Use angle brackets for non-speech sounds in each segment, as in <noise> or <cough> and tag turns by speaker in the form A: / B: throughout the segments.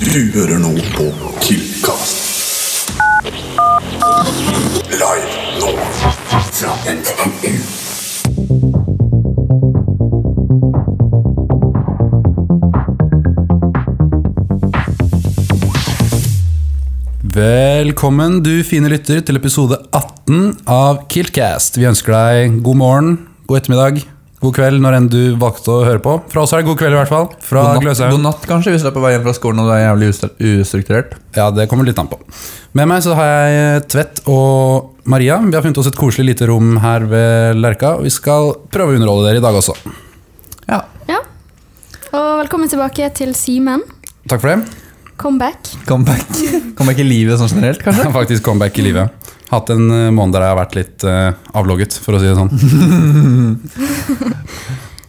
A: Du hører nå på Killcast. Live nå fra NMU.
B: Velkommen, du fine lytter, til episode 18 av Kiltcast. Vi ønsker deg god morgen, god ettermiddag, god kveld, når enn du valgte å høre på. Fra oss er det god kveld, i hvert fall. Fra
C: God natt, god
B: Gløshaugen.
C: natt, kanskje, hvis du er på vei hjem fra skolen og du er jævlig ustru- ustrukturert.
B: Ja, det kommer litt an på. Med meg så har jeg eh, Tvedt og Maria. Vi har funnet oss et koselig lite rom her ved Lerka, og vi skal prøve å underholde dere i dag også.
C: Ja.
D: Ja. Og velkommen tilbake til Simen.
B: Takk for det.
D: Comeback.
C: <laughs> Comeback. Comeback i livet sånn generelt,
B: Jeg
C: kanskje?
B: har Faktisk comeback i livet. Hatt en eh, måned der jeg har vært litt eh, avlogget, for å si det
C: <laughs>
B: sånn.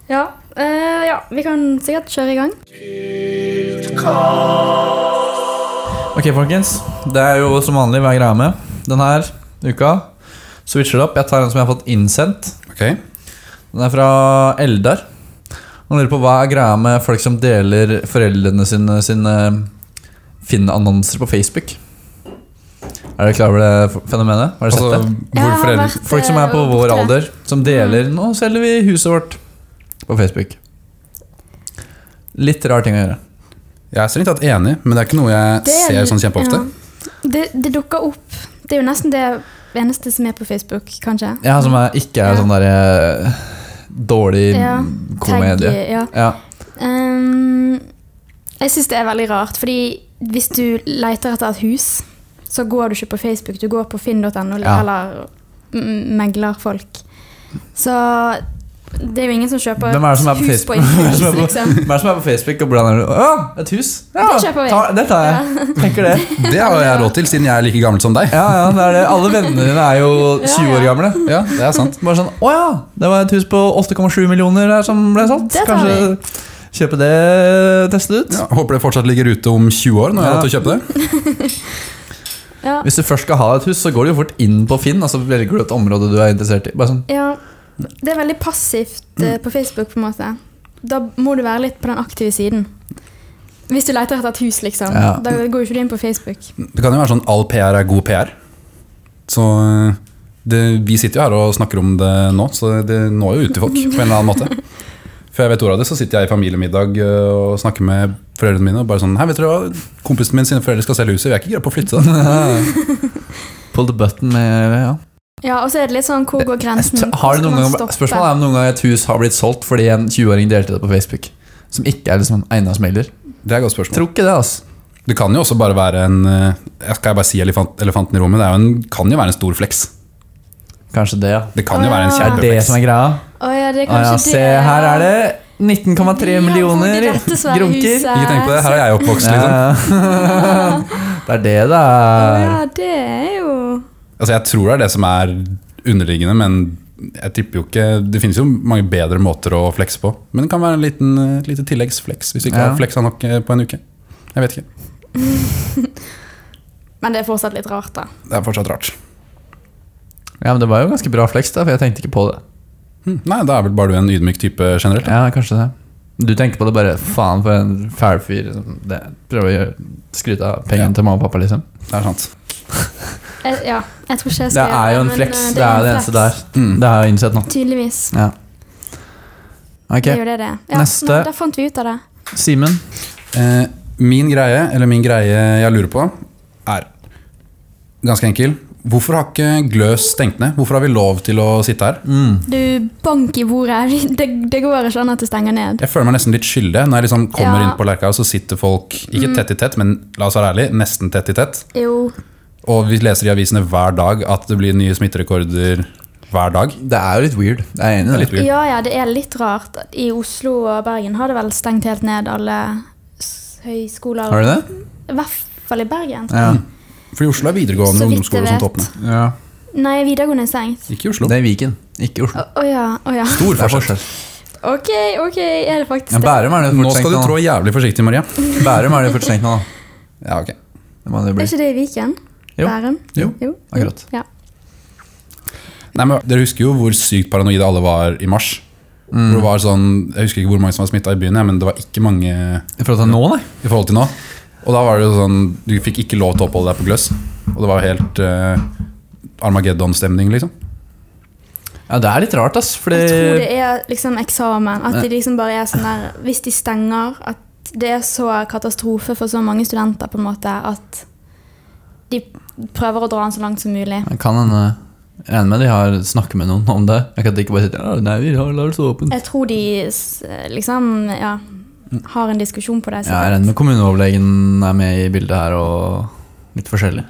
D: Ja. eh, ja, vi kan sikkert kjøre i gang.
C: Ok, folkens. Det er jo som vanlig hva jeg greier med. Denne uka switcher det opp. Jeg tar en som jeg har fått innsendt.
B: Ok,
C: Den er fra Eldar. Han lurer på hva er greia med folk som deler foreldrene sine, sine eh, Finn-annonser på Facebook. Er dere klar over det fenomenet? Har dere sett
B: altså,
C: det?
B: hvor
D: Jeg har
B: foreldre...
D: vært,
C: Folk som er på
D: eh,
C: vår
D: borte.
C: alder, som deler 'Nå selger vi huset vårt' på Facebook. Litt rar ting å gjøre.
B: Jeg er strengt tatt enig, men det er ikke noe jeg
D: Det er-
B: ser sånn kjempeofte.
D: Ja. Det, det dukker opp. Det er jo nesten det eneste som er på Facebook, kanskje.
C: Ja, Som er, ikke er
D: Ja.
C: sånn derre dårlig
D: Ja,
C: komedie.
D: Tagg, ja.
C: Ja.
D: Ehm, jeg syns det er veldig rart, fordi hvis du leter etter et hus, så går du ikke på Facebook, du går på finn.no
C: Ja.
D: eller mm, megler folk. Så det er jo ingen som kjøper
C: Hvem er det som er på
D: hus på
C: Facebook? <laughs> Hvem er det som er
D: Influence,
C: på-
D: liksom.
C: Hvem er det som er på Facebook, og hvordan er det Å, et hus! Ja,
D: Det kjøper vi.
C: Ta, det tar jeg. <laughs> Tenker det.
B: Det har jo jeg råd til, siden jeg er like gammel som deg.
C: Ja, ja, det er det. Alle vennene dine er jo 20 år
D: Ja, ja.
C: gamle.
B: Ja, det er sant.
C: Bare sånn Å ja, det var et hus på 8,7 millioner der som ble solgt.
D: Det tar
C: Kanskje kjøpe det, teste det ut.
B: Ja, håper det fortsatt ligger ute om 20 år når jeg har råd til å kjøpe det.
D: Ja.
C: Hvis du først skal ha et hus, så går du jo fort inn på Finn, og så velger du et område du er interessert i. Bare sånn,
D: ja. Det er veldig passivt
C: Mm.
D: eh, på Facebook, på en måte. Da må du være litt på den aktive siden. Hvis du leter etter et hus, liksom.
C: Ja.
D: Da går jo ikke du inn på Facebook.
B: Det kan jo være sånn all PR er god PR. Så eh, det, vi sitter jo her og snakker om det nå, så det når jo ut til folk på en eller annen måte. Før jeg vet ordet av det, så sitter jeg i familiemiddag eh, og snakker med foreldrene mine og bare sånn Hei, vet dere hva, kompisen min sine foreldre skal selge huset, vi er ikke gira på å flytte.
C: pull the button med ja.
D: Ja, Og så er det litt sånn hvor går grensen?
C: har det
D: Hvor skal
C: noen
D: man
C: ganger,
D: stoppe?
C: Spørsmålet er om noen gang et hus har blitt solgt fordi en 20-åring delte det på Facebook. Som ikke er liksom eiendomsmegler.
B: Det er et godt spørsmål.
C: Tror ikke det, altså.
B: Det kan jo også bare være en eh, jeg Skal jeg bare si elefant, elefanten i rommet? Det er jo en, kan jo være en stor flex.
C: Kanskje det, ja.
B: Det kan jo
D: Å,
B: være en
D: ja.
C: Det er det
B: kjempeflex.
C: som er greia.
D: Å ja, det er
C: Å,
D: kanskje
C: ja,
D: det.
C: se, her er det 19,3 millioner
D: Ja, hvor de rette svære
C: grunker.
D: huset
B: Ikke tenk på det, her er jeg oppvokst. Liksom.
C: Ja. <laughs> Det er det det
D: Å
C: er.
D: ja, det er jo
B: Altså, jeg tror det er det som er underliggende, men jeg tipper jo ikke Det finnes jo mange bedre måter å flekse på, men det kan være en liten, eh, lite tilleggsflex hvis du ikke
C: Ja.
B: har fleksa nok eh, på en uke. Jeg vet ikke.
D: Men det er fortsatt litt rart, da.
B: Det er fortsatt rart.
C: Ja, men det var jo ganske bra flex, da, for jeg tenkte ikke på det.
B: Hm. Nei, da er vel bare du en ydmyk type generelt.
C: Ja, kanskje det. Du tenker på det bare Faen, for en fæl fyr. liksom. Det, prøver å gjøre, skryte av pengene
B: Ja.
C: til mamma og pappa, liksom.
B: Det er sant.
D: Jeg, ja, jeg tror ikke jeg
C: Det
D: skal
C: er jo en
D: men,
C: flex.
D: eh,
C: Det er jo det
D: en
C: eneste
D: flex.
C: der. Det har jeg innsett nå.
D: Tydeligvis.
C: Ja. Ok,
D: Det er jo det det er. Ja,
C: Neste.
D: nei, Da fant vi ut av det.
C: Simen.
B: Eh, min greie, eller min greie jeg lurer på, er ganske enkel. Hvorfor har ikke Gløs stengt ned? Hvorfor har vi lov til å sitte her?
C: Mm.
D: Du, bank i bordet. Det, <laughs> det går ikke an at det stenger ned.
B: Jeg føler meg nesten litt skyldig når jeg liksom kommer
D: Ja. Mm.
B: inn på Lerka, og så sitter folk ikke tett i tett, men la oss være ærlig, nesten tett i tett.
D: Jo.
B: Og vi leser i avisene hver dag at det blir nye smitterekorder hver dag.
C: Det er jo litt weird. Jeg er
B: Det
C: enig
B: er
C: i det.
B: litt weird.
D: Ja ja, det er litt rart. I Oslo og Bergen har det vel stengt helt ned alle s- høyskoler.
C: Har du det? Mm.
D: I hvert fall i Bergen. tror jeg.
C: Ja.
B: For i Oslo er
D: Så
B: videregående
D: vidt
B: ungdomsskoler
D: jeg
B: som
D: vet.
B: toppene.
C: ja.
D: Nei, videregående er stengt.
B: Ikke i Oslo.
C: Det er i Viken, ikke i Oslo.
D: Å å ja, å ja.
B: Stor
C: Det er
B: forskjell.
C: forskjell.
D: <laughs> Ok, ok, er det faktisk
C: Ja,
D: det?
C: Bærum er det
B: Nå
C: fort
B: skal
C: stengt
B: du
C: nå.
B: trå jævlig forsiktig, Maria.
C: Bærum er det fort stengt nå. da.
B: Ja, ok.
C: Det må det
D: Er
C: bli.
D: ikke det i Viken?
C: Jo.
D: Bærum?
B: Jo,
C: akkurat.
D: Ja.
B: Nei, men Dere husker jo hvor sykt paranoide alle var i mars.
C: Mm.
B: Hvor det var sånn, jeg husker ikke hvor mange som var smitta i byen, jeg, men det var ikke mange
C: I forhold til nå, nei.
B: i forhold til nå. Og da var det jo sånn Du fikk ikke lov til å oppholde deg på gløss. Og det var jo helt eh, Armageddon-stemning, liksom.
C: Ja, det er litt rart, ass. Fordi
D: Jeg tror det er liksom eksamen. At de liksom bare er sånn der Hvis de stenger, at det er så katastrofe for så mange studenter på en måte at de prøver å dra den så langt som mulig.
C: Jeg kan hende jeg regner med de har snakket med noen om det. Jeg kan ikke bare sitte ja, nei, vi har- lar det stå åpent.
D: Jeg tror de s- liksom ja, har en diskusjon på det.
C: Ja, jeg regner med kommuneoverlegen er med i bildet her, og litt forskjellig.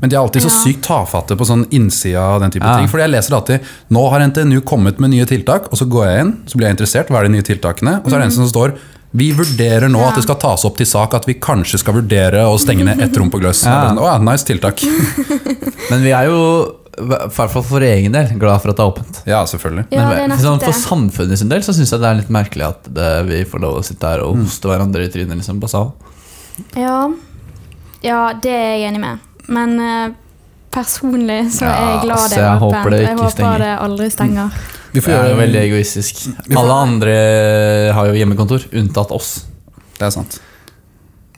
B: Men de er alltid så
D: Ja.
B: sykt tafatte på sånn innsida av den type
C: Ja.
B: ting. Fordi jeg leser alltid Nå har NTNU kommet med nye tiltak, og så går jeg inn, så blir jeg interessert. Hva er de nye tiltakene? Og så
D: Mhm.
B: er det en som står Vi vurderer nå at det skal tas opp til sak at vi kanskje skal vurdere å stenge ned ett rom på gløss.
C: Ja.
B: Og jeg bare Sånn, å ja, nice tiltak.
D: <laughs>
C: Men vi er jo, i hvert fall for egen del, glad for at det er åpent.
B: Ja, selvfølgelig.
D: Ja, det er
C: Men
D: nettopp
C: sånn,
D: det.
C: for samfunnet sin del så syns jeg det er litt merkelig at det, vi får lov å sitte her og hoste hverandre i trynet. Liksom, på sal.
D: Ja. ja, det er jeg enig med. Men eh, personlig så er
C: Ja,
D: jeg glad
C: altså,
D: det er
C: jeg
D: åpent.
C: håper det
D: jeg
C: ikke
D: håper
C: stenger.
D: det aldri stenger.
B: Vi
C: Det
B: får
C: er
B: gjøre
C: jo veldig egoistisk. Alle andre har jo hjemmekontor, unntatt oss,
B: Det er sant.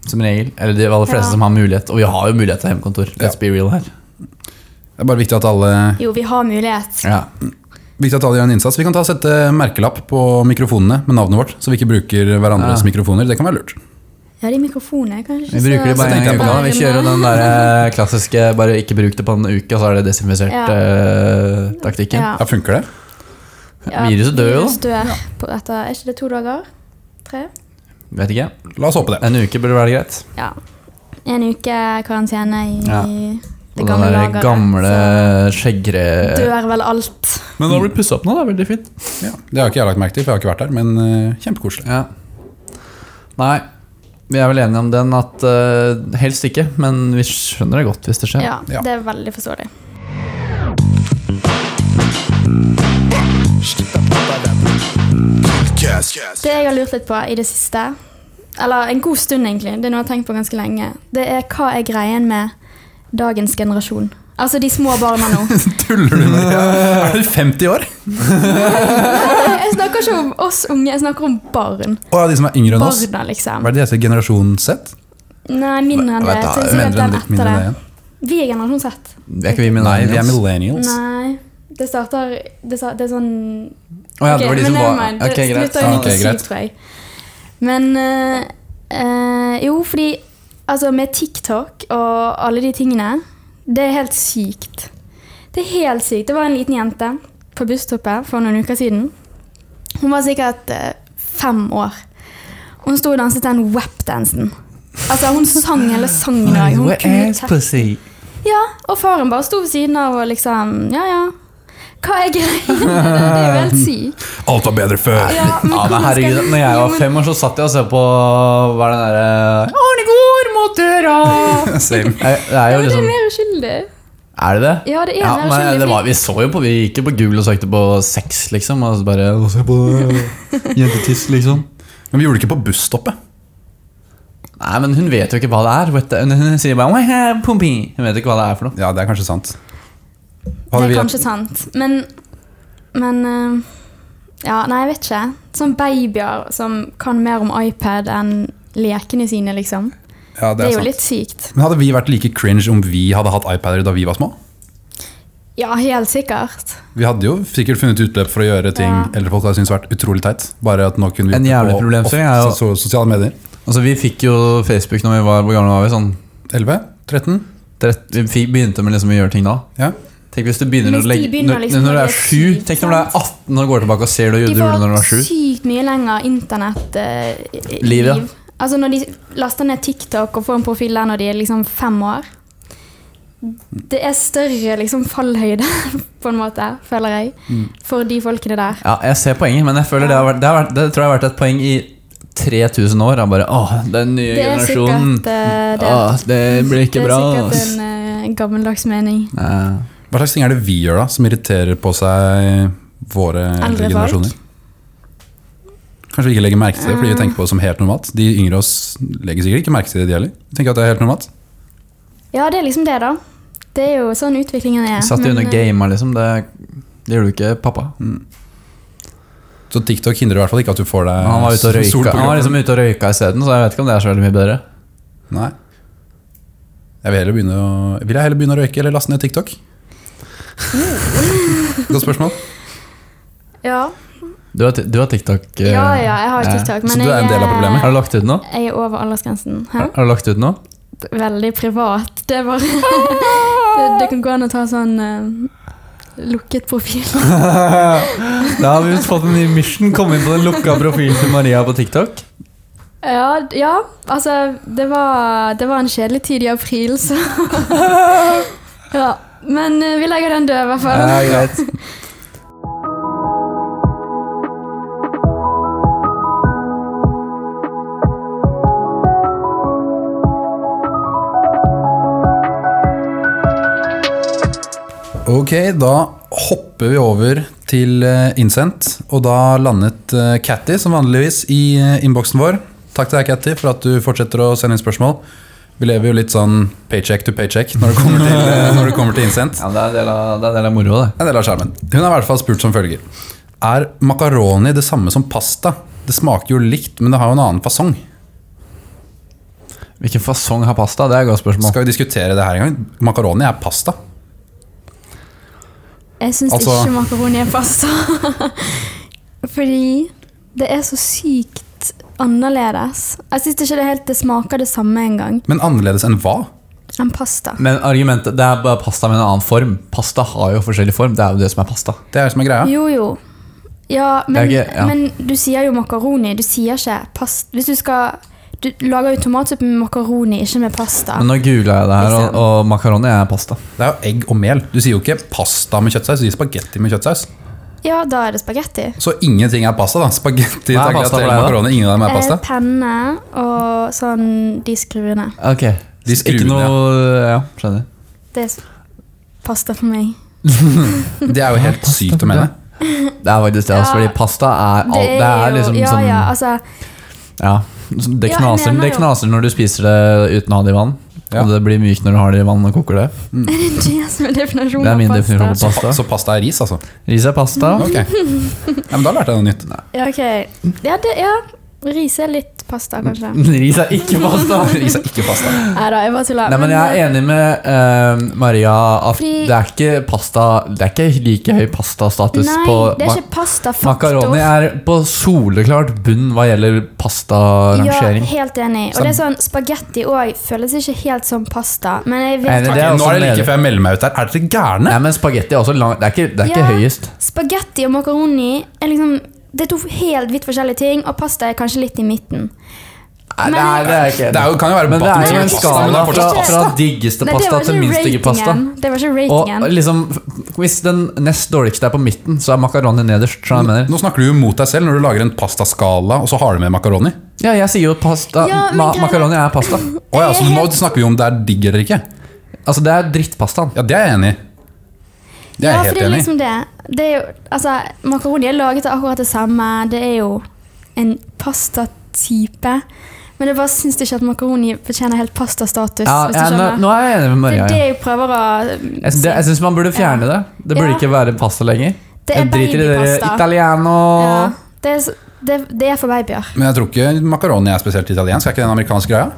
C: som regel. Eller de aller fleste
D: Ja.
C: som har mulighet. Og vi har jo mulighet til hjemmekontor. Let's
B: Ja.
C: be real her.
B: Det er bare viktig at alle,
D: Jo, vi har mulighet.
C: Ja.
B: viktig at alle gjør en innsats. Vi kan ta og sette merkelapp på mikrofonene med navnet vårt, så vi ikke bruker hverandres
C: Ja.
B: mikrofoner. Det kan være lurt.
D: Ja, de mikrofonene kanskje
C: Vi bruker
B: Så
C: det bare en
B: tenkte
C: gang
B: jeg på
C: i uka. Vi kjører jo den der eh, klassiske 'bare ikke bruk det på en uke', og så er det eh,
D: Ja.
C: desinfisert-taktikken.
D: Ja.
B: Ja, funker det?
C: Viruset dør jo.
D: virus dør på- etter, er ikke det to dager? Tre?
C: Vet ikke.
B: La oss håpe det.
C: En uke burde være greit.
D: Ja. En uke karantene i
C: Ja.
D: det
C: Og den
D: gamle
C: der
D: lageret.
C: gamle
D: så
C: skjeggre...
D: dør vel alt.
C: Men det har blitt pussa opp nå, det er veldig fint.
B: Ja, det har ikke jeg lagt merke til, for jeg har ikke vært der, men eh, kjempekoselig.
C: Ja. Nei, vi er vel enige om den at eh, helst ikke, men vi skjønner det godt hvis det skjer.
D: Ja,
B: Ja.
D: det er veldig forståelig. Det jeg har lurt litt på i det siste, eller en god stund egentlig, det er noe jeg har tenkt på ganske lenge, det er hva er greien med dagens generasjon? Altså de små barna nå.
B: <laughs> Tuller du med
C: <laughs>
B: det? Er du 50 år?
D: Jeg snakker ikke om oss unge, jeg snakker om barn.
B: Å ja, de som er yngre enn oss.
D: Barna, liksom.
B: Hva er det de heter? Generasjon Z?
D: Nei, mindre enn det.
C: Vet da,
D: Så
B: Mindre
D: jeg sikkert
B: enn
D: den
B: det, mindre
D: etter
B: enn det
D: det.
B: igjen.
D: Vi er generasjon Z.
C: Vi er ikke vi med
B: Nei, vi er
C: millennials.
B: millennials.
D: Nei, det starter Det, sa- det er sånn
C: Å ja, det
D: Ok,
C: var de som
D: men
C: var
D: nevermind,
C: Ok,
D: det
C: greit.
D: slutter jo
B: Ja,
D: like
B: ok, greit.
D: sykt, tror jeg. Men eh, eh, Jo, fordi altså, med TikTok og alle de tingene Det er helt sykt. Det er helt sykt. Det var en liten jente på busstoppet for noen uker siden. Hun var sikkert eh, fem år. Hun sto og danset den wap-dansen. Altså, hun sang hele sangen i dag. Hun
C: Where
D: kunne
C: is pussy?
D: ja, og faren bare sto ved siden av og liksom Ja, ja. Hva er greia? <laughs> med det? Det er jo helt sykt.
B: Alt var bedre før.
D: Ja,
C: Ja, men
D: hvordan skal
C: herregud,
D: vi-
C: når jeg
D: Jo,
C: var
D: men-
C: fem år, så satt jeg og så på Hva er den derre Arne går mot døra!
B: <laughs> Same.
C: Jeg- Det er
D: Ja,
C: jo
D: men det er
C: liksom
D: mer uskyldig.
C: Er det det?
D: Ja, det er mer
C: men
D: uskyldig,
C: det var,
D: fordi-
C: Vi så jo på Vi gikk jo på Google og søkte på sex, liksom. Og så bare «Å, Se
D: <laughs>
C: på det, jentetiss, liksom.
B: Men vi gjorde det ikke på busstoppet.
C: Nei, men hun vet jo ikke hva det er. vet du. Hun, hun sier bare «Wah, eh, pumpi». Hun vet ikke hva det er for noe.
B: Ja, det er kanskje sant.
D: Det
B: Hadde
D: er
B: vi
D: kanskje sant. Men Men eh, Ja, nei, jeg vet ikke. Sånn babyer som kan mer om iPad enn lekene sine, liksom.
B: ja,
D: Det er jo
B: sant.
D: litt sykt.
B: Men hadde vi vært like cringe om vi hadde hatt iPader da vi var små?
D: Ja, helt sikkert.
B: Vi hadde jo sikkert funnet utløp for å gjøre ting
D: Ja.
B: eldre folk hadde syntes vært utrolig teit. Bare at nå kunne vi
C: En
B: gjort det
C: jævlig
B: på
C: problemstilling er jo-
B: sos- sosiale medier.
C: Altså, Vi fikk jo Facebook når vi var Hvor gamle var vi? sånn
B: 11? 13?
C: trett- Vi fikk- begynte med liksom å gjøre ting da.
B: Ja.
C: Tenk hvis du begynner
D: Hvis
C: å
D: de
C: legge
D: begynner
C: når, når
D: liksom
C: du
D: når
C: er
D: de er
C: sju
D: syv,
C: Tenk når du er 18 og går tilbake og ser du
D: De
C: gjorde
D: får
C: når du var sju.
D: sykt mye lenger internett eh,
C: Liv, ja.
D: Altså Når de laster ned TikTok og får en profil der når de er liksom fem år Det er større liksom fallhøyde, <laughs> på en måte, føler jeg,
C: Mm.
D: for de folkene der.
C: Ja, jeg ser poenget, men jeg føler det, har vært, det, har vært, det tror jeg har vært et poeng i 3000 år. Jeg bare, Åh, den nye
D: Det er
C: generasjonen.
D: sikkert eh, det.
C: Åh, det blir
D: det
C: ikke
D: er
C: bra.
D: sikkert
C: ass.
D: en eh, gammeldags mening.
C: Nei.
B: Hva slags ting er det vi gjør da, som irriterer på seg våre eldre
D: Eldre folk?
B: generasjoner? Kanskje vi ikke legger merke til det fordi vi tenker på det som helt normalt. De yngre oss legger sikkert ikke merke til det de heller. Vi Tenker at det er helt normalt.
D: Ja, det er liksom det, da. Det er jo sånn utviklingen er.
C: Jeg satt jo
D: men,
C: under
D: eh,
C: gamer, liksom. Det, det gjorde du ikke pappa.
B: Så TikTok hindrer i hvert fall ikke at du får deg <laughs>
C: Han var ute
B: sol
C: og røyka
B: på
C: Han var
B: kroppen.
C: liksom ute og røyka isteden, så jeg vet ikke om det er så veldig mye bedre.
B: Nei. Jeg vil, heller begynne å, vil jeg heller begynne å røyke eller laste ned TikTok? Godt spørsmål.
D: Ja,
C: Du har, ti- du har TikTok? eh,
D: ja, ja jeg har TikTok, men
B: Så du er en del av problemet?
C: Har du lagt ut noe?
D: Jeg er over aldersgrensen. Hæ?
C: Har har du lagt ut noe?
D: Veldig privat. Det er bare <laughs> det, det kan gå an å ta sånn eh, lukket profil.
C: Da har vi fått en ny mission. Komme inn på den lukka profilen til Maria på TikTok.
D: <laughs> Ja, d- ja altså det var, det var en kjedelig tid i april, så <laughs> Ja. Men eh, vi legger den død, i hvert fall.
C: Ja, greit.
B: Ok, da hopper vi over til eh, innsendt. Og da landet eh, Catty som vanligvis i eh, innboksen vår. Takk til deg, Catty, for at du fortsetter å sende inn spørsmål. Vi lever jo litt sånn paycheck to paycheck når det kommer til, eh, når det kommer til innsendt.
C: Ja, det er en del av, det er en del av moroa, det.
B: En del av skjermen. Hun har i hvert fall spurt som følger. Er makaroni det samme som pasta? Det smaker jo likt, men det har jo en annen fasong.
C: Hvilken fasong har pasta? Det er et godt spørsmål.
B: Skal vi diskutere det her en gang? Makaroni er pasta.
D: Jeg syns
B: altså-
D: ikke makaroni er pasta. <laughs> Fordi det er så sykt annerledes. Jeg syns ikke det helt det smaker det samme engang
B: Men annerledes enn hva?
D: enn pasta.
C: Men argumentet, det er bare pasta med en annen form. Pasta har jo forskjellig form. Det er jo det som er pasta.
B: Det er det som er greia.
D: Jo, jo. Ja, men,
C: Det er ikke- ja.
D: men du sier jo makaroni, du sier ikke pasta. Hvis du skal Du lager jo tomatsuppe med makaroni, ikke med pasta.
C: Men nå googla jeg det her, og, og makaroni er pasta.
B: Det er jo egg og mel. Du sier jo ikke pasta med kjøttsaus, du sier spagetti med kjøttsaus.
D: Ja, da er det spagetti.
B: Så ingenting er pasta, da. Spagetti,
C: Hva er pasta for
B: tagliatelle,
C: deg, da?
B: makaroni. Ingen av dem er pasta.
D: Eh, penne og sånn de skruene.
C: Ok,
B: De
C: Så Ikke
B: skruene,
C: noe Ja, skjønner.
D: Det er s- pasta for meg.
B: Det er jo helt sykt å mene.
C: Det er faktisk det, altså,
D: Ja,
C: fordi pasta er alt Det er
D: jo-
C: liksom
D: ja,
C: sånn
D: ja, altså, <laughs>
C: Ja. Det
D: Ja, jeg
C: knaser,
D: mener
C: det
D: jo.
C: knaser når du spiser det uten å ha det i vann.
B: Ja.
C: Og det blir mykt når du har det i vann og koker det.
D: Er det det som er definisjonen
C: Det er min
D: av pasta?
C: definisjon på
B: Så,
C: pasta.
B: pa- så pasta er ris, altså?
C: Ris er pasta.
B: Ok.
D: <laughs>
B: Ja, men da lærte jeg noe nytt.
D: Ja, ok. Ja, det, ja. Ris er litt pasta, kanskje.
C: <laughs> Ris er ikke pasta!
B: Ris er ikke pasta.
D: Nei da, jeg bare tuller.
C: Nei, men jeg er enig med eh, Maria at
D: Fordi-
C: det er ikke pasta Det er ikke like høy pastastatus
D: Nei,
C: på
D: det er
C: ma-
D: ikke pastafaktor.
C: Makaroni er på soleklart bunn hva gjelder pastarangering.
D: Ja, helt enig. Og det er sånn, Spagetti òg føles ikke helt som pasta. Men jeg vet
C: Nei, det-
B: Ok,
C: det er
B: nå
C: også
B: er det
C: nede.
B: like før jeg melder meg ut her. Er dere gærne?
C: Nei, men spagetti er også lang Det er ikke, det er ikke
D: Ja.
C: høyest.
D: Spagetti og makaroni er liksom Det er to helt vidt forskjellige ting, og pasta er kanskje litt i midten.
C: Nei,
D: Men-
C: nei, det er ikke
B: Det er jo- kan jo være
C: Men det
B: bottom
C: er jo
B: tier pasta, men
C: en
B: det
C: skala
B: er
C: fra,
B: fortsatt
C: fra diggeste
D: Nei, det
C: pasta
D: var
C: til
D: ikke
C: minst digge pasta.
D: ratingen. Det var ikke
C: Og
D: ratingen.
C: liksom, hvis den nest dårligste er på midten, så er makaroni nederst. skjønner du hva jeg mener.
B: Nå snakker du jo mot deg selv når du lager en pastaskala og så har du med makaroni.
C: Ja, jeg sier jo pasta.
D: Ja, men
C: ma
D: greia-
C: makaroni er pasta.
B: Å ja, så nå snakker vi om det er digg eller ikke.
C: Altså, det er drittpastaen.
B: Ja, det er jeg enig i. Det er
D: ja,
B: jeg
D: for
B: helt
D: det er
B: enig i.
D: liksom det. det er jo, altså, makaroni er laget av akkurat det samme. Det er jo en pastatype. Men jeg bare syns ikke at makaroni fortjener helt pastastatus,
C: Ja,
D: hvis du
C: ja, nå,
D: skjønner.
C: nå er jeg enig med
D: det
C: Maria.
D: er det
C: ja.
D: jeg prøver å
C: Jeg, sy- det- jeg syns man burde fjerne det. Det burde
D: Ja.
C: ikke være pasta lenger.
D: Det er
C: Jeg driter i dere
D: babypasta.
C: italiano
D: ja, det, er, s- det, det er for
C: <laughs>
D: babyer.
B: Men jeg tror ikke makaroni er spesielt italiensk. Er ikke det en amerikansk greia?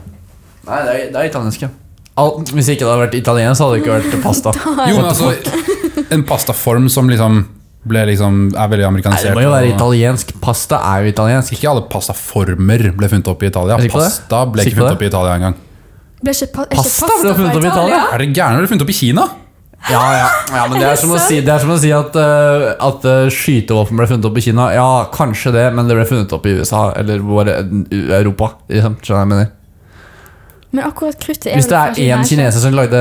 C: Nei, det er, det er italiensk, ja. Al- hvis ikke det hadde vært italiensk, hadde det ikke vært
D: <laughs>
C: pasta.
B: Jo, men altså, en pastaform som liksom ble liksom er veldig
C: Nei, det
B: amerikanisert.
C: må jo være
B: og-
C: italiensk. Pasta er jo italiensk.
B: Ikke alle pastaformer ble funnet opp i Italia.
C: Er du sikker på det?
B: Pasta ble ikke
C: Sikker
B: funnet
C: på det?
B: opp i Italia engang.
D: Blir ikke pa, er ikke
C: Pasta ble
D: fra
C: funnet opp i Italia?
B: Er det gærne ble funnet opp i Kina?
C: Ja, ja. ja men det er, som å si, det er som å si at, eh, at eh, skytevåpen ble funnet opp i Kina. Ja, kanskje det, men det ble funnet opp i USA eller hvor, Europa. Liksom, skjønner du hva jeg mener.
D: Men akkurat kruttet er
C: Hvis det er
D: vel kanskje
C: én
D: nær-
C: kineser som, lagde,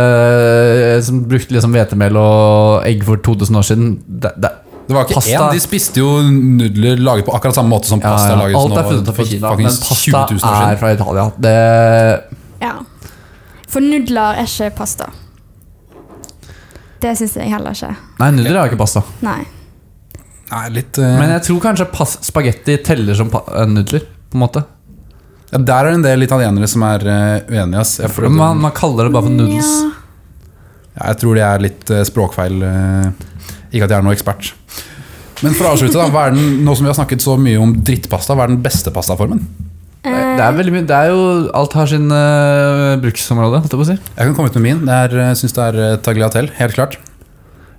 C: som brukte liksom hvetemel og egg for 2000 år siden det, det,
B: Det var ikke
C: Pasta.
B: én. De spiste jo nudler laget på akkurat samme måte som
C: ja,
B: pasta
C: ja,
B: er laget
C: Alt
B: nå,
C: er funnet opp i
B: for
C: Kina, men
B: fuckings 20 000
C: pasta
B: år siden.
C: er fra Italia. Det,
D: Ja. For nudler er ikke pasta. Det syns jeg heller ikke.
C: nei, nudler er jo ikke pasta.
D: Nei.
B: Nei, litt, eh,
C: Men jeg tror kanskje pas, spagetti teller som pa, eh, nudler. På en måte.
B: ja, Der er det en del italienere som er eh, uenige. Ass. Jeg, tror,
C: Man, man kaller det bare for noodles.
D: Ja.
B: ja, jeg tror det er litt eh, språkfeil. eh, Ikke at jeg er noen ekspert. Men for å avslutte, da, hva er den, nå som vi har snakket så mye om drittpasta, hva er den beste pastaformen?
D: Eh,
C: Det det er veldig mye Det er jo Alt har sin eh, bruksområde, holdt jeg på å si.
B: Jeg kan komme ut med min. Jeg syns det er eh, tagliatelle, helt klart.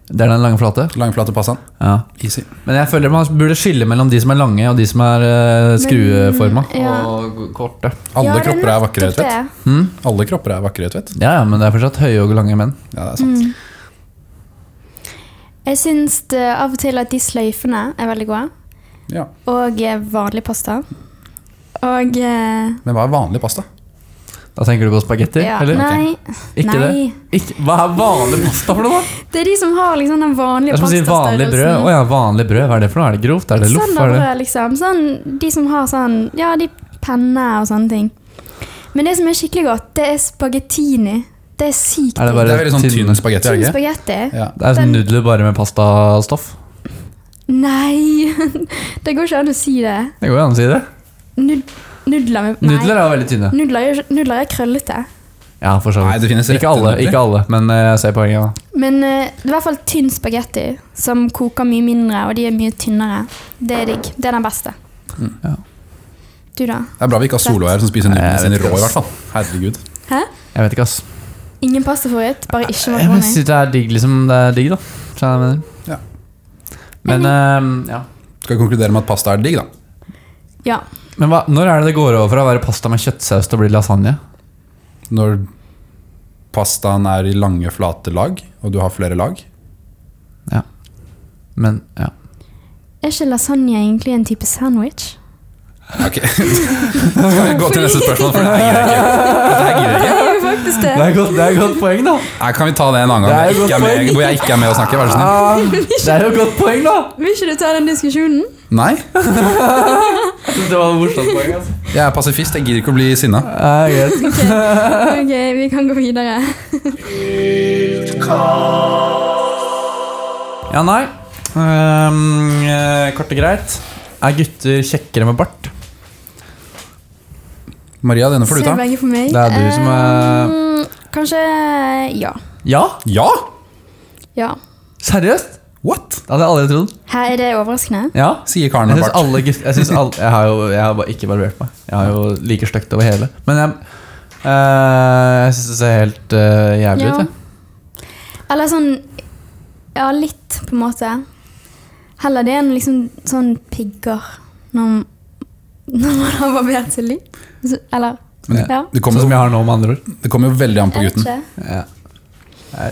C: Det er den lange flate.
B: Langflate passan.
C: Ja.
B: Easy.
C: Men jeg føler man burde skille mellom de som er lange, og de som er uh, skrueforma
D: ja.
C: og korte.
B: Alle
D: Ja, det er
B: kropper er vakre,
D: nettopp
B: Tvedt.
D: det.
B: Alle kropper er vakre, Tvedt.
C: Ja, ja, men det er fortsatt høye og lange menn.
B: Ja, det
D: Mm.
B: er sant.
D: Jeg syns det av og til at de sløyfene er veldig gode.
B: Ja.
D: Og eh, vanlig pasta. Og eh,
B: Men hva er vanlig pasta?
C: Da tenker du på spagetti?
D: ja,
C: eller?
D: Nei.
C: Ikke
D: nei.
C: det? Ikke, hva er vanlig pasta for noe, da?
D: Det er de som har liksom den
C: Det
D: vanlige
C: er som å si vanlig brød. Å ja, vanlig brød. Hva er det for noe? Er det grovt? Er det loff? Er det
D: Standardbrød, liksom. Sånn, de som har sånn Ja, de penner og sånne ting. Men det som er skikkelig godt, det er spagettini. Det er sykt
C: Er det
B: Det
C: bare
B: er veldig sånn
C: tynne-
B: tynn spagetti. er
D: digg.
B: det
D: Tynn
B: ikke?
D: spagetti.
B: Ja.
C: Det er sånn
D: Den-
C: nudler bare med pastastoff.
D: Nei! <laughs> Det går ikke an å si det.
C: Det går jo an å si det.
D: Nud nudler med Nei.
C: Nudler er jo veldig tynne.
D: Nudler er, nudler er krøllete.
C: Ja, for så
B: Nei, det finnes
C: vidt. Ikke
B: rette
C: alle,
B: nudler.
C: ikke alle, men eh, jeg ser poenget.
D: Men eh, det er i hvert fall tynn spagetti som koker mye mindre, og de er mye tynnere. Det er digg. Det er den beste.
C: da.
D: Du, da?
B: Det er bra vi ikke har Solo her som spiser
C: Nei, jeg
B: nudlene sine
C: vet
B: rå, i
C: ikke, ass.
B: hvert fall. Herregud.
D: Hæ?
C: Jeg vet ikke, ass.
D: Ingen pastafavoritt, bare ikke
C: Jeg bare
D: makaroni.
C: synes det er digg, liksom. Det er digg, da. Skjønner du hva jeg mener?
B: Ja.
C: Men, eh, ja.
B: Skal vi konkludere med at pasta er digg, da?
D: Ja.
C: men hva, når er det det går over fra å være pasta med kjøttsaus til å bli lasagne?
B: Når pastaen er i lange, flate lag, og du har flere lag.
C: Ja. Men, ja.
D: Er ikke lasagne egentlig en type sandwich?
B: Ok. <laughs> Skal vi gå til neste spørsmål, for det her gidder jeg ikke. Det her gidder jeg ikke.
D: Det er jo faktisk det.
C: Det er godt, det er godt poeng, da.
B: Nei, kan vi ta det en annen gang
C: Det er
B: hvor jeg ikke er
C: jo
B: med,
C: godt poeng.
B: hvor jeg ikke er med og snakker? Vær så snill.
C: Ah, det er jo godt poeng, da.
D: Vil ikke du ta den diskusjonen?
B: Nei,
C: Jeg synes det var et morsomt poeng, altså.
B: jeg er pasifist. Jeg gidder ikke å bli sinna.
C: Ja, greit.
D: Ok, ok, vi kan gå videre.
C: Ja, nei. Ehm, eh, kort og greit. Er gutter kjekkere med bart?
B: Maria, denne får du
D: Ser
B: ta.
D: begge for meg.
C: Det er du som er-
D: Eh, Kanskje ja.
C: Ja?
B: Ja!
D: Ja.
C: Seriøst?
B: What?
C: Det hadde jeg aldri trodd.
D: Her er det overraskende.
C: Ja.
B: Sier karen
C: Jeg
B: med
C: synes
B: bart.
C: alle gutter Jeg, synes alle, jeg har jo jeg har bare ikke barbert meg. Jeg har jo like stygt over hele. Men jeg, eh, jeg syns det ser helt eh, jævlig ut, jeg.
D: Eller sånn Ja, litt, på en måte. Heller det enn liksom sånn pigger når, når man har barbert seg litt. Så- Eller
B: Men det,
D: Ja.
B: det
C: Sånn
B: kommer
C: som
B: jo,
C: jeg har nå, med andre ord.
B: det kommer jo veldig an på
D: Jeg vet
B: gutten.
D: ikke.
C: Ja.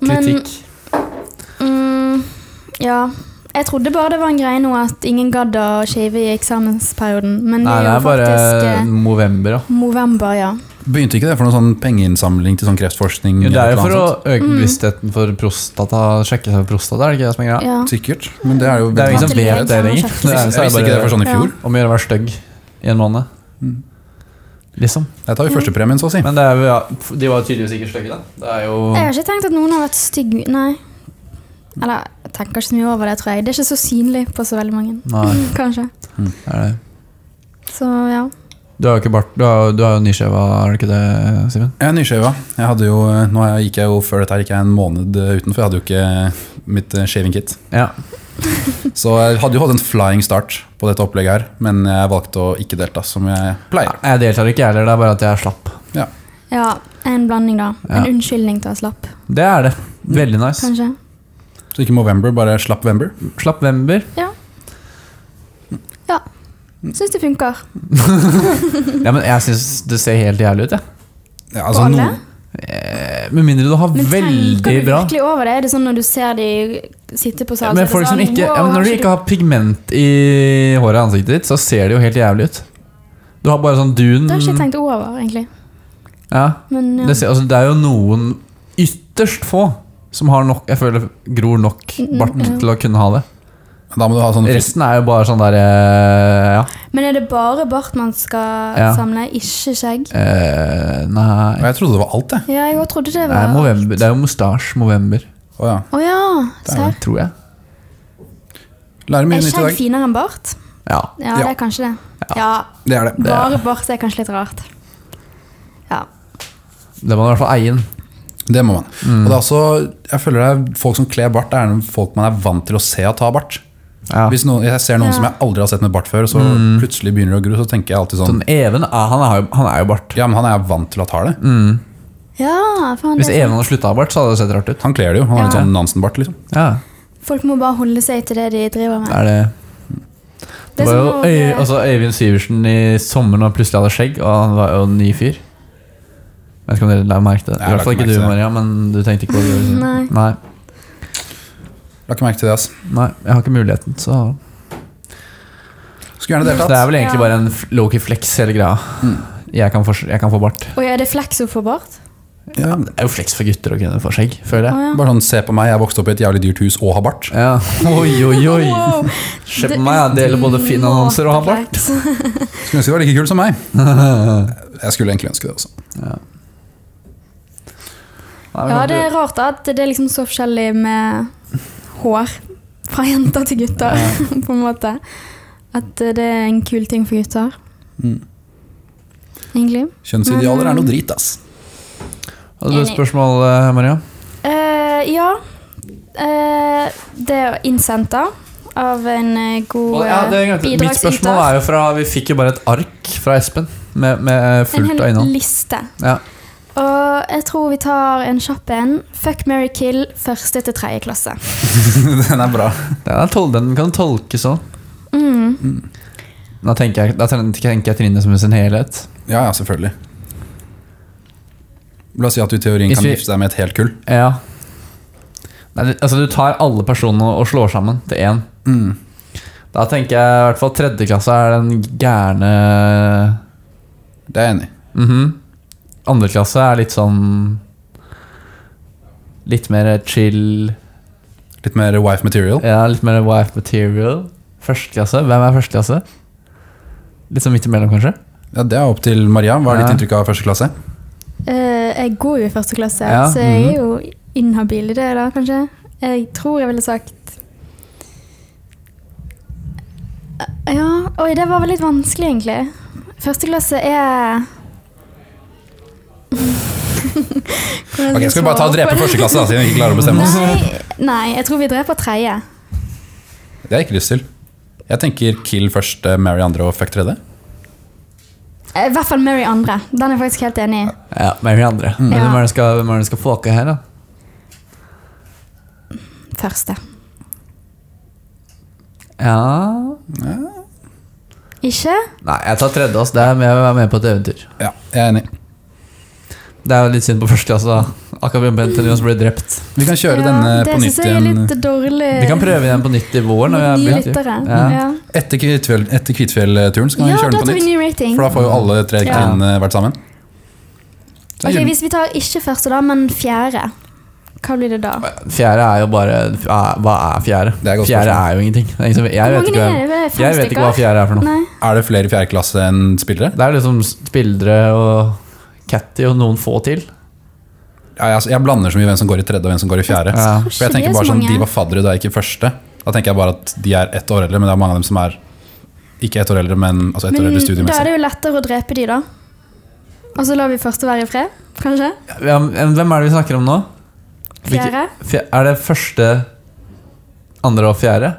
D: Men-
C: Kritikk.
D: Mm, ja. Jeg trodde bare det var en greie nå at ingen gadd å shave i eksamensperioden, men
C: Nei, det
D: det er
C: er
D: jo
C: bare
D: faktisk eh,
C: november, da.
D: november, ja.
B: Begynte ikke det for noen sånn pengeinnsamling til sånn kreftforskning?
C: Jo, det er
B: eller
C: jo for å
B: noe sånt?
C: øke bevisstheten for prostata, sjekke seg for prostata, er det ikke det som er greia?
D: ja.
B: Sikkert. Men det er jo
C: Det er jo ingen
B: veldig-
C: som vet det lenger.
D: Jeg
C: Det er- så
B: Jeg
C: er
B: visste ikke det
C: bare
B: for sånn Mm. i fjor.
C: Om å gjøre å være stygg i en måned. Liksom.
B: Der tar vi førstepremien, så å si.
C: Men det er, jo- ja, de var jo tydeligvis ikke stygge, da. Det er jo
D: Jeg har ikke tenkt at noen har vært stygg Nei. Eller jeg tenker ikke så mye over det, tror jeg. Det er ikke så synlig på så veldig mange.
C: Nei,
D: <laughs> Kanskje.
C: det er det.
D: Så ja.
C: Du har jo ikke bart, du har, du har jo nyskjeva, er det ikke det, Simen?
B: Jeg er nyskjeva. Jeg hadde jo, eh, nå er jeg- gikk jeg jo før dette her gikk jeg en måned eh, utenfor. Jeg hadde jo ikke mitt eh, shaving kit.
C: Ja.
B: Så jeg hadde jo hatt en flying start på dette opplegget her, men jeg valgte å ikke delta, som jeg pleier.
C: Jeg deltar ikke, jeg heller. Det er bare at jeg er slapp.
B: Ja.
D: ja. En blanding, da. En
C: Ja.
D: unnskyldning til å være slapp,
C: Det er det.
B: Mm.
C: Veldig nice.
D: kanskje.
B: Så ikke Movember, bare slapp Vember.
C: Slapp Vember.
D: Ja. Ja.
C: Mm.
D: Syns det funker.
C: Ja, men jeg syns det ser helt jævlig ut, jeg.
B: Ja,
D: På
B: altså,
D: alle.
B: no,
C: Eh, Med mindre du har
D: Men tenker
C: veldig
D: du
C: bra
D: virkelig over det? Er det sånn når du ser de sitte på
C: Ja,
D: sal?
C: men folk
D: sånn,
C: som ikke, ja, men når du ikke har pigment i håret og ansiktet ditt, så ser det jo helt jævlig ut. Du har bare sånn dun
D: Det har jeg ikke tenkt over, egentlig.
C: ja.
D: Men ja.
C: det, ser, altså, det er jo noen ytterst få som har nok Jeg føler gror nok
D: Mm,
C: bart
D: ja.
C: til å kunne ha det.
B: da må du ha sånn
C: Resten er jo bare sånn der eh, Ja.
D: Men er det bare bart man skal
C: Ja.
D: samle, ikke skjegg?
C: Eh, nei
B: Jeg trodde det var alt, jeg.
D: Ja, jeg også trodde det
C: det er,
D: var Å
C: Movember. det er jo mustasje Movember,
B: Å ja.
D: ja, serr.
C: tror jeg.
B: Lærer mye
D: Er
B: nytt i
D: skjegg
B: dag.
D: finere enn bart?
C: Ja.
D: Ja,
B: Ja.
D: det er kanskje det. Ja,
B: Det er det.
D: bare bart er kanskje litt rart. Ja.
C: Det må du i hvert fall eie den.
B: Det må
C: Mm.
B: man. Og det er også, jeg føler det er folk som kler bart, det er folk man er vant til å se at har bart.
C: Ja. Mm.
B: Hvis noen, jeg ser noen
D: Ja.
B: som jeg aldri har sett med bart før, og så plutselig begynner det å gro, så tenker jeg alltid sånn
C: Sånn, Even ah, han, har jo, han er jo bart.
B: Ja, men han er vant til at har det.
C: Mm.
D: Ja, faen.
C: Hvis
D: Det. er sånn.
C: Even hadde slutta å ha bart, så hadde det sett rart ut.
B: Han kler det jo. Han har litt
D: Ja.
B: sånn Nansen-bart, liksom.
C: Ja,
D: sant. Folk må bare holde seg til det de driver med.
C: er det
D: Det
C: Det
D: er
C: var jo
D: som å-
C: Øy, altså Øyvind Syversen i sommer når han plutselig hadde skjegg, og han var jo en ny fyr. Jeg vet ikke om dere la merke til det.
B: Nei,
C: I hvert fall
B: jeg la ikke merke
C: ikke du,
B: til det.
C: Maria, men du tenkte ikke på det.
D: <laughs> Nei.
C: Nei,
B: La ikke merke til det, ass.
C: nei, jeg har ikke muligheten, så
B: Skulle gjerne
C: Det er
B: deltatt.
C: vel egentlig
D: Ja.
C: bare en f- low-key flex, hele greia.
B: Mm.
C: Jeg kan, få, jeg kan få bart.
D: Oi, er det flex å få bart?
B: Ja.
C: Det er jo flex for gutter å kunne få skjegg, føler jeg.
D: Å, ja.
B: Bare sånn, se på meg, jeg vokste opp i et jævlig dyrt hus og har bart.
C: Ja. Oi, oi, oi!
D: <laughs> Wow. Mm,
C: Se på meg, jeg deler både fine annonser og har bart.
D: Flex.
B: Skulle ønske det var like kult som
C: <laughs>
B: meg. Jeg skulle egentlig ønske det også.
C: Nei,
D: Ja,
C: men
D: det er rart at det er liksom så forskjellig med hår fra jenter til gutter, <laughs> på en måte. At eh, det er en kul ting for gutter.
C: Mm.
D: Egentlig.
B: Kjønnsidealer er noe drit, ass.
C: Hadde du et spørsmål, eh, Maria?
D: Eh, ja. Eh, det er innsendte av en eh, god
C: Ja, det
D: eh,
C: glemte jeg. Mitt spørsmål er jo fra Vi fikk jo bare et ark fra Espen med, med
D: En
C: fullt av
D: hel
C: innhold.
D: liste.
C: Ja.
D: Og jeg tror vi tar en kjapp en. Fuck, marry, kill, første til tredje klasse.
B: Den <laughs> er bra.
C: <laughs> Den, er tol den kan tolkes sånn.
D: Mm.
C: Da tenker jeg, da ten- tenker jeg Trine som i sin helhet.
B: Ja, ja, selvfølgelig. La oss si at du i teorien
C: Hvis
B: kan
C: vi-
B: gifte deg med et helt kull.
C: Ja. Nei, du- altså, du tar alle personene og slår sammen til én. Da tenker jeg i hvert fall tredje klasse er den gærne eh,
B: Det er jeg enig i.
C: Mhm. Andre klasse er litt sånn Litt mer chill.
B: Litt mer wife material.
C: Ja, litt mer wife material. Første klasse. Hvem er første klasse? Litt sånn midt imellom, kanskje?
B: Ja, Det er opp til Maria. Hva er ditt
C: Ja.
B: inntrykk av første klasse?
D: Eh, jeg går jo i første klasse,
C: Ja,
D: så jeg
B: mhm.
D: er jo inhabil i det, da, kanskje. Jeg tror jeg ville sagt Eh, Ja, oi, det var vel litt vanskelig, egentlig. Første klasse er <laughs>
B: Ok, Skal vi bare ta og drepe første klasse, da, siden vi ikke klarer å bestemme oss?
D: <laughs> Nei, nei, jeg tror vi dreper tredje.
B: Det har jeg ikke lyst til. Jeg tenker kill første, marry andre og fuck tredje.
D: Eh, I hvert fall Mary andre. Den er jeg faktisk helt enig i.
C: Ja, Mary andre. Men hvem er det skal, hvem er det skal fucke her, da?
D: Første.
C: Ja
D: Ikke?
C: Nei, jeg tar tredje. Ass. Det er med å være med på et eventyr.
B: Ja, jeg er enig.
C: Det er jo litt synd på første klasse, da. Akkurat Bentenius ble drept.
B: Vi kan kjøre
D: Ja,
B: denne
D: det
B: på
D: synes
B: nytt
D: jeg er
B: igjen
D: litt dårlig.
C: Vi kan prøve igjen på nytt i vår. Når vi
D: Nye
C: er
D: lyttere.
C: Ja.
D: Ja,
B: etter Kvitfjell- etter Kvitfjell-turen. så kan
D: ja
B: vi kjøre
D: da
B: den
D: tar
B: på nytt.
D: vi ny rating.
B: For da får jo alle tre
D: Ja.
B: trinnene vært sammen. Så
D: Ok,
B: gyllen-
D: Hvis vi tar ikke første, da, men fjerde, hva blir det da? Hvor
C: Fjerde er jo bare er- Hva er fjerde?
B: Det er et godt
C: fjerde
B: spørsmål.
C: er jo ingenting. Det er ingen som- Jeg vet,
D: mange
C: ikke,
D: er
C: hva-
D: det? det? er Fem
C: jeg vet ikke hva
D: stykker?
C: fjerde er for noe.
D: Nei.
B: Er det flere i fjerde klasse enn spillere?
C: Det er liksom spillere og Catty og noen få til.
B: Ja, jeg, jeg blander så mye hvem som går i tredje og hvem som går i fjerde.
C: Ja.
B: For jeg tenker bare sånn, De var faddere da jeg gikk i første. Da tenker jeg bare at de er ett år eldre, men det er mange av dem som er ikke ett år eldre, men altså ett år eldre
D: Men da er
B: studiemessig.
D: det jo lettere å drepe de, da. Og så lar vi første være i fred, kanskje?
C: Ja, men Hvem er det vi snakker om nå?
D: Fjerde?
C: Fje- Er det første, andre og fjerde?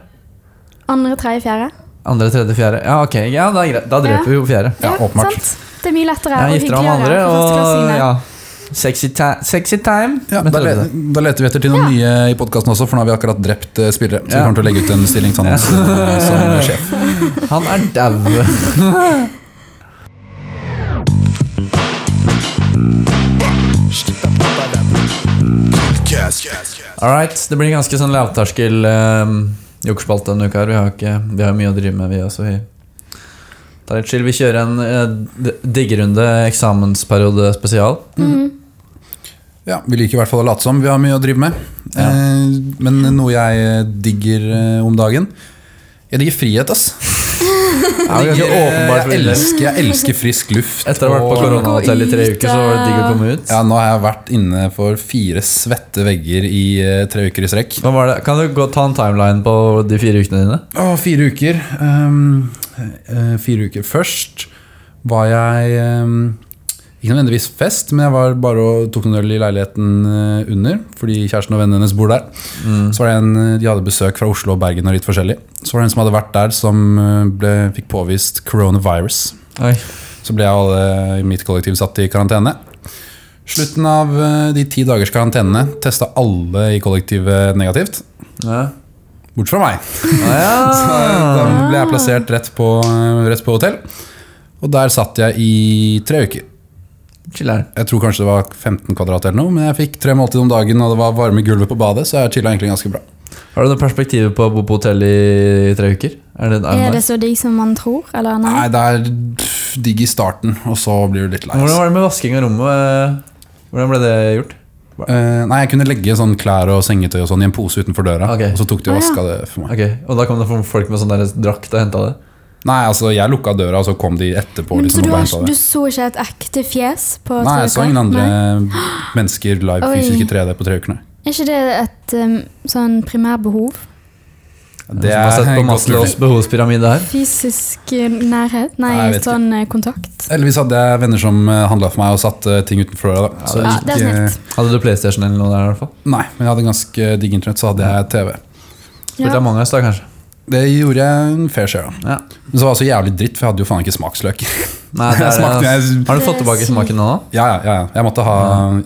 D: Andre, tredje, fjerde?
C: Andre, tredje, fjerde? Ja, ok. Ja, da, er greit. da dreper
D: Ja.
C: vi jo fjerde.
B: Ja, åpenbart.
D: sant? Det er mye lettere
C: Jeg gifter
D: og
C: meg
D: hyggeligere
C: med andre,
D: for
C: og
D: førsteklassingene.
C: ja. Sexy, ti sexy time.
B: Ja,
C: med
B: da, le,
C: tredje.
B: da leter vi etter til noen nye i podkasten også, for nå har vi akkurat drept eh, spillere. Så vi
C: Ja.
B: kommer til å legge ut en stillingsannonse
C: <laughs>
B: eh, <laughs> som sjef.
C: Han er dau. All right, det blir en ganske sånn lavterskel um, jokerspalte denne uka. her. Vi har jo ikke, vi har jo mye å drive med, vi også. Vi tar litt chill. Vi kjører en eh, d- diggerunde eksamensperiode spesial.
B: Mm. Ja, Vi liker i hvert fall å late som vi har mye å drive med. Eh, men noe jeg eh, digger eh, om dagen Jeg digger frihet, ass.
C: Ja, vi
B: Jeg,
C: har
B: digger,
C: ikke åpenbart
B: jeg,
C: frivillig.
B: elsker, jeg elsker frisk luft.
C: Etter å ha vært på
B: og-
C: koronahotell i tre uker, så var det digg å komme ut.
B: Ja, nå har jeg vært inne for fire svette vegger i eh, tre uker i strekk.
C: Hva var det? Kan du gå, ta en timeline på de fire ukene dine?
B: Å, fire uker. Ehm, Um, eh, fire uker først var jeg um, Ikke nødvendigvis fest, men jeg var bare og tok noen øl i leiligheten eh, under, fordi kjæresten og vennen hennes bor der. Så var det en, eh, De hadde besøk fra Oslo og Bergen og litt forskjellig. Så var det en som hadde vært der, som eh, ble, fikk påvist coronavirus.
C: Oi.
B: Så ble alle i mitt kollektiv satt i karantene. Slutten av eh, de ti dagers karantene testa alle i kollektivet negativt,
C: Ja.
B: bortsett fra meg.
C: Ah,
B: Så
C: <laughs> ja.
B: da ble jeg plassert rett på, eh, rett på hotell. Og der satt jeg i tre uker.
C: Chiller'n.
B: Jeg tror kanskje det var 15 kvadrat eller noe, men jeg fikk tre måltider om dagen, og det var varme gulvet på badet, så jeg chilla egentlig ganske bra.
C: Har du noe perspektiv på å bo på hotell i tre uker? Er det,
D: Er det så digg som man tror, eller nei?
B: Nei, det er digg i starten, og så blir du litt lei.
C: Hvordan
B: altså.
C: var det med vasking av rommet? Eh, Hvordan ble det gjort?
B: Eh, nei, jeg kunne legge sånn klær og sengetøy og sånn i en pose utenfor døra,
C: Ok.
B: og så tok de og
D: Ah, ja.
B: vaska det for meg.
C: Ok, Og da kom det folk med sånn der drakt og henta det?
B: Nei, altså, jeg lukka døra, og så kom de etterpå.
D: Men, så
B: Liksom,
D: du,
B: og
D: har,
B: hentet
D: du
B: det.
D: så ikke et ekte fjes? på
B: Nei, jeg så ingen andre
D: Nei.
B: mennesker live
D: Oi.
B: fysisk i 3D på tre ukene.
D: Er ikke det et um, sånn primærbehov?
B: Det
C: Som har sett på
B: godt mulig.
C: Maslows behovspyramide her.
D: Fysisk eh, nærhet? Nei,
B: Nei, jeg vet ikke.
D: sånn eh, kontakt?
B: Heldigvis hadde jeg venner som handla for meg og satte eh, ting utenfor døra. Da. Så
D: Ja,
B: jeg
D: det er
B: gikk, eh,
D: snilt.
C: Hadde du PlayStation eller noe der? i hvert fall?
B: Nei, men jeg hadde ganske digg internett, så hadde jeg TV.
C: Spilte
D: Ja.
C: Among us da, kanskje?
B: Det gjorde jeg en fair share av.
C: Ja.
B: Men så var det så jævlig dritt, for jeg hadde jo faen ikke smaksløk.
C: <laughs> Nei, det er, eh,
B: Smakte jeg-
C: Har du
D: Det
C: fått
D: er
C: tilbake
D: sykt.
C: smaken nå? da?
B: Ja, ja, ja, ja. Jeg måtte ha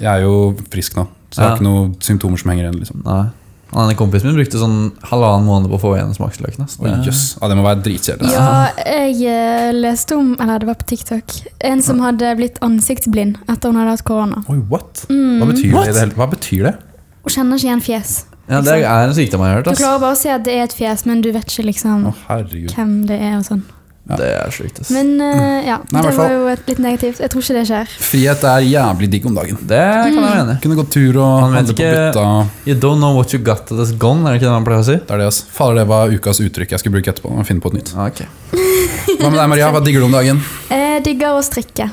B: Jeg er jo frisk nå, så jeg har
C: Ja.
B: ikke noen symptomer som henger igjen. liksom
C: Nei. Han ene kompisen min brukte sånn halvannen måned på å få igjen smaksløkene. så
B: Oi,
C: det-
B: jøss. Ja, det må være dritkjedelig.
D: Ja, jeg eh, leste om, eller det var på TikTok, en som hadde blitt ansiktsblind etter hun hadde hatt korona.
B: Oi, what? Hva betyr
C: What?
B: det? i det hele- Hva betyr det?
D: Hun kjenner ikke igjen fjes.
C: Ja, det er en sykdom jeg har hørt.
D: Du
C: Ass.
D: klarer bare å se at det er et fjes, men du vet ikke liksom
B: Å, herregud.
D: hvem det er og sånn.
C: Det er sjukt, ass.
D: Men eh, ja,
B: Nei, i
D: det
B: hvert
D: var
B: fall.
D: jo et litt negativt. Jeg tror ikke det skjer.
B: Frihet er jævlig digg om dagen.
C: Det kan jeg
D: Mm.
C: være enig i.
B: Kunne gått tur og
C: Man vet
B: handle på
C: ikke-
B: bytta.
C: You don't know what you got that is gone, er det ikke det man pleier å si?
B: Det er det, ass. Fader, det var ukas uttrykk jeg skulle bruke etterpå. Jeg må finne på et
C: <laughs>
B: nytt.
C: Ah, ok.
B: Hva med deg, Maria? Hva digger du om dagen?
D: Jeg digger å strikke. Jeg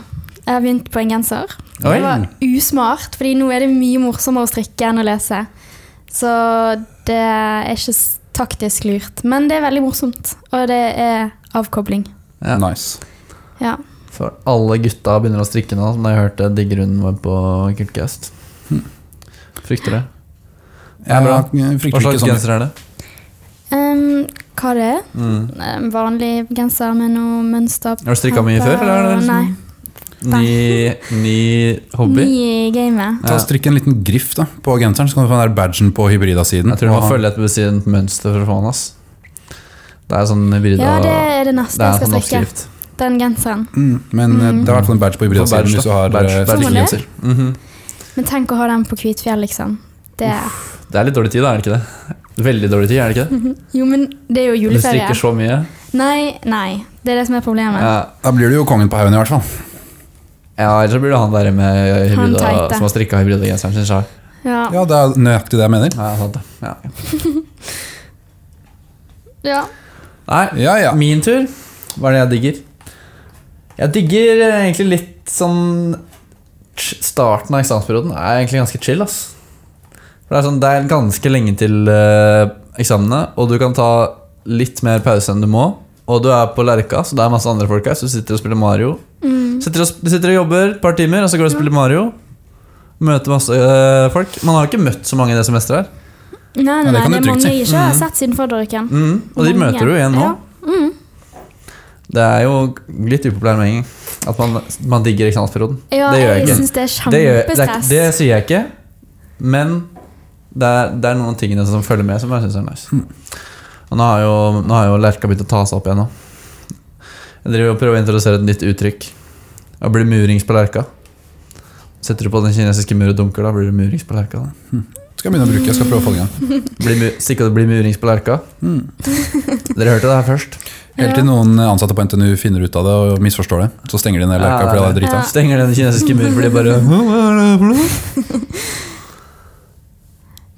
D: har begynt på en genser. Det
B: Oi.
D: var usmart, fordi nå er det mye morsommere å strikke enn å lese. Så det er ikke s- taktisk lurt, men det er veldig morsomt. Og det er avkobling.
C: Ja.
B: Nice.
D: Ja.
C: For alle gutta begynner å strikke nå, som jeg hørte digger hun var på Kultcast.
B: Hm.
C: Frykter det. Ja,
B: Jeg,
C: bra.
B: jeg
C: Eh, Hva
B: frykter ikke
C: slags
B: sånn.
C: genser er det?
D: Em, hva det er? Em, vanlig genser med noe mønster.
C: Mm. Har du strikka mye før? Eller er det
D: Nei.
C: liksom ny, ny hobby?
D: Ny i gamet.
B: Ta og Strikk en liten griff da, på genseren, så kan du få den der badgen på hybrida-siden.
C: Jeg tror du
B: Og
C: må
B: ha-
C: følge et bestemt mønster for å få den. ass. Det er sånn hybrida
D: Ja, det er
C: det
D: det neste
C: er
D: jeg
C: en
D: skal
C: sånn
D: strikke.
C: oppskrift. Sånn
D: Den genseren.
B: Mm, men eh, det er i hvert fall en badge på
C: På
B: hybrida-siden
C: badge,
B: hvis du
C: da.
B: har
C: Badge,
B: eh,
C: badge.
B: strikkegenser.
C: Mhm.
D: Men tenk å ha den på Kvitfjell, liksom. Det.
C: Det er litt dårlig tid, da, er det ikke det? Veldig dårlig tid, er det ikke
D: <laughs>
C: det?
D: Jo, men det er jo
C: Du
D: juleferie.
C: strikker så mye.
D: Nei, nei. Det er det som er problemet.
C: Ja,
B: Da blir du jo kongen på haugen, i hvert fall.
C: ja ellers så blir det han der med
D: Han
C: hybrida,
D: teite.
C: som har strikka hybridagenseren sin sjøl.
D: Ja.
B: Ja, Det er nøyaktig det jeg mener.
C: Ja, sant det. ja.
D: Ja.
C: Nei,
B: Ja, ja.
C: Min tur. Hva er det jeg digger? Jeg digger eh, egentlig litt sånn tsk, Starten av eksamensperioden er egentlig ganske chill. ass For Det er, sånn, det er ganske lenge til eh, eksamene, og du kan ta litt mer pause enn du må. Og du er på Lerka, så det er masse andre folk her, så du sitter og spiller Mario. Sitter og, sp- du sitter og jobber et par timer, og så går du og spiller Mario. Møter masse eh, folk. Man har jo ikke møtt så mange i det semesteret her.
D: Nei, nei,
B: det
D: nei,
B: kan
D: det
B: du
D: er
B: trygt
D: mange
B: si.
D: jeg ikke har sett siden fadderuken.
C: Mm, og de
D: Mange.
C: møter du igjen nå.
D: Ja. Mm.
C: Det er jo litt upopulær mening at man, man digger eksamensperioden.
D: Ja,
C: Det gjør jeg
D: jeg,
C: ikke.
D: synes syns det er
C: Det, gjør, det, er,
D: kjempestress.
C: det sier jeg ikke, men det er, det er noen av tingene som følger med, som jeg syns er nice. Og nå har jo, nå har jo Lerka begynt å ta seg opp igjen nå. Jeg driver og prøver å introdusere et nytt uttrykk. Da blir det murings på Lerka. Setter du på den kinesiske mur og dunker, da blir det murings på Lerka. Da.
B: Skal jeg begynne å bruke, jeg skal prøve å få det i gang.
C: Blir mu- Sikkert det blir murings på Lerka. Dere hørte det her først.
B: Helt til noen ansatte på NTNU finner ut av det og misforstår det. Så stenger de ned
C: Ja,
B: lerka
C: det er
B: fordi det er
C: det.
B: drita.
C: Stenger den kinesiske mur fordi <laughs> bare Hva er det for noe?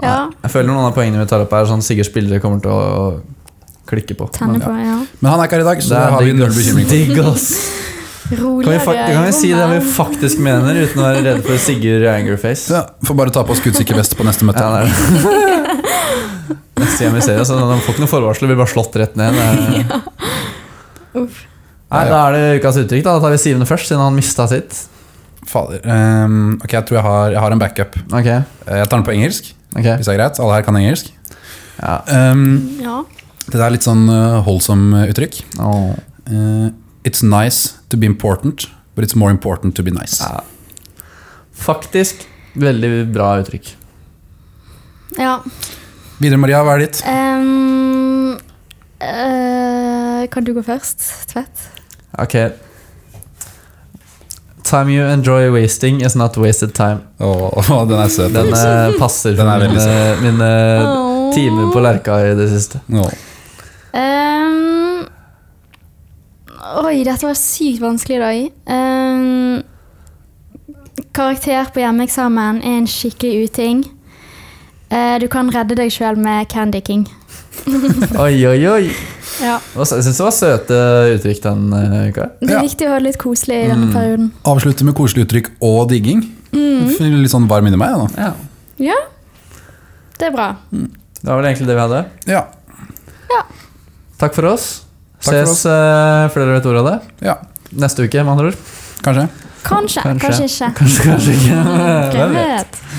D: ja.
C: Jeg føler noen av poengene vi tar opp her, sånn sikkert spillere kommer til å klikke på.
D: Tenne på, ja.
B: Men han er ikke her i dag, så da har vi null bekymring.
C: Digg, ass. Kan vi,
D: Roligere
C: fak- kan vi si det vi
D: rommet.
C: faktisk mener, uten å være redde for Sigurd Angerface?
B: Ja, får bare ta på skuddsikker vest på neste møte.
C: Ja, det er det. <laughs> Neste gang vi ser oss, så de får ikke noe forvarsel, blir bare slått rett ned. Det er-
D: Uff.
C: <laughs> Nei, Da er det ukas uttrykk. Da Da tar vi Sivende først, siden han mista sitt.
B: Fader. ehm, ok, jeg tror jeg har, jeg har en backup.
C: Ok,
B: Eh, Jeg tar den på engelsk,
C: ok.
B: hvis det er greit. Alle her kan engelsk.
C: Ja.
B: Ehm,
D: Ja.
B: det der er litt sånn uh, holdsom uttrykk.
C: Åh.
B: Eh, it's nice to be important, but it's more important to be nice.
C: Ja. Faktisk veldig bra uttrykk.
D: ja.
B: Videre, Maria, hva er ditt?
D: Ehm, eh, kan du gå først, Tvedt?
C: Ok. Time you enjoy wasting is not wasted time.
B: Å, den er <laughs> søt.
C: Den eh, passer
B: Den
C: for
B: er veldig
C: mine, mine
D: Åh.
C: timer på Lerka i det siste.
B: Å.
D: Ehm, oi, dette var sykt vanskelig i dag. Ehm, karakter på hjemmeeksamen er en skikkelig uting. Eh, du kan redde deg sjøl med Candy King.
C: Oi, oi, oi.
D: Ja.
C: Det var sø- Jeg syns det var søte uttrykk den eh, uka.
D: Det er
B: Ja.
D: viktig å ha det litt koselig i denne perioden.
B: Avslutte med koselig uttrykk og digging. Litt sånn varm inni meg. Da.
C: Ja.
D: Ja, det er bra.
C: Det var vel egentlig det vi hadde.
B: Ja,
C: Takk for oss.
B: Takk for
C: Ses eh, før dere vet ordet av det.
B: ja,
C: Neste uke, med andre ord.
B: kanskje.
D: Kanskje,
C: Kanskje.
D: kanskje ikke.
C: Kanskje, kanskje ikke.
D: Hvem vet?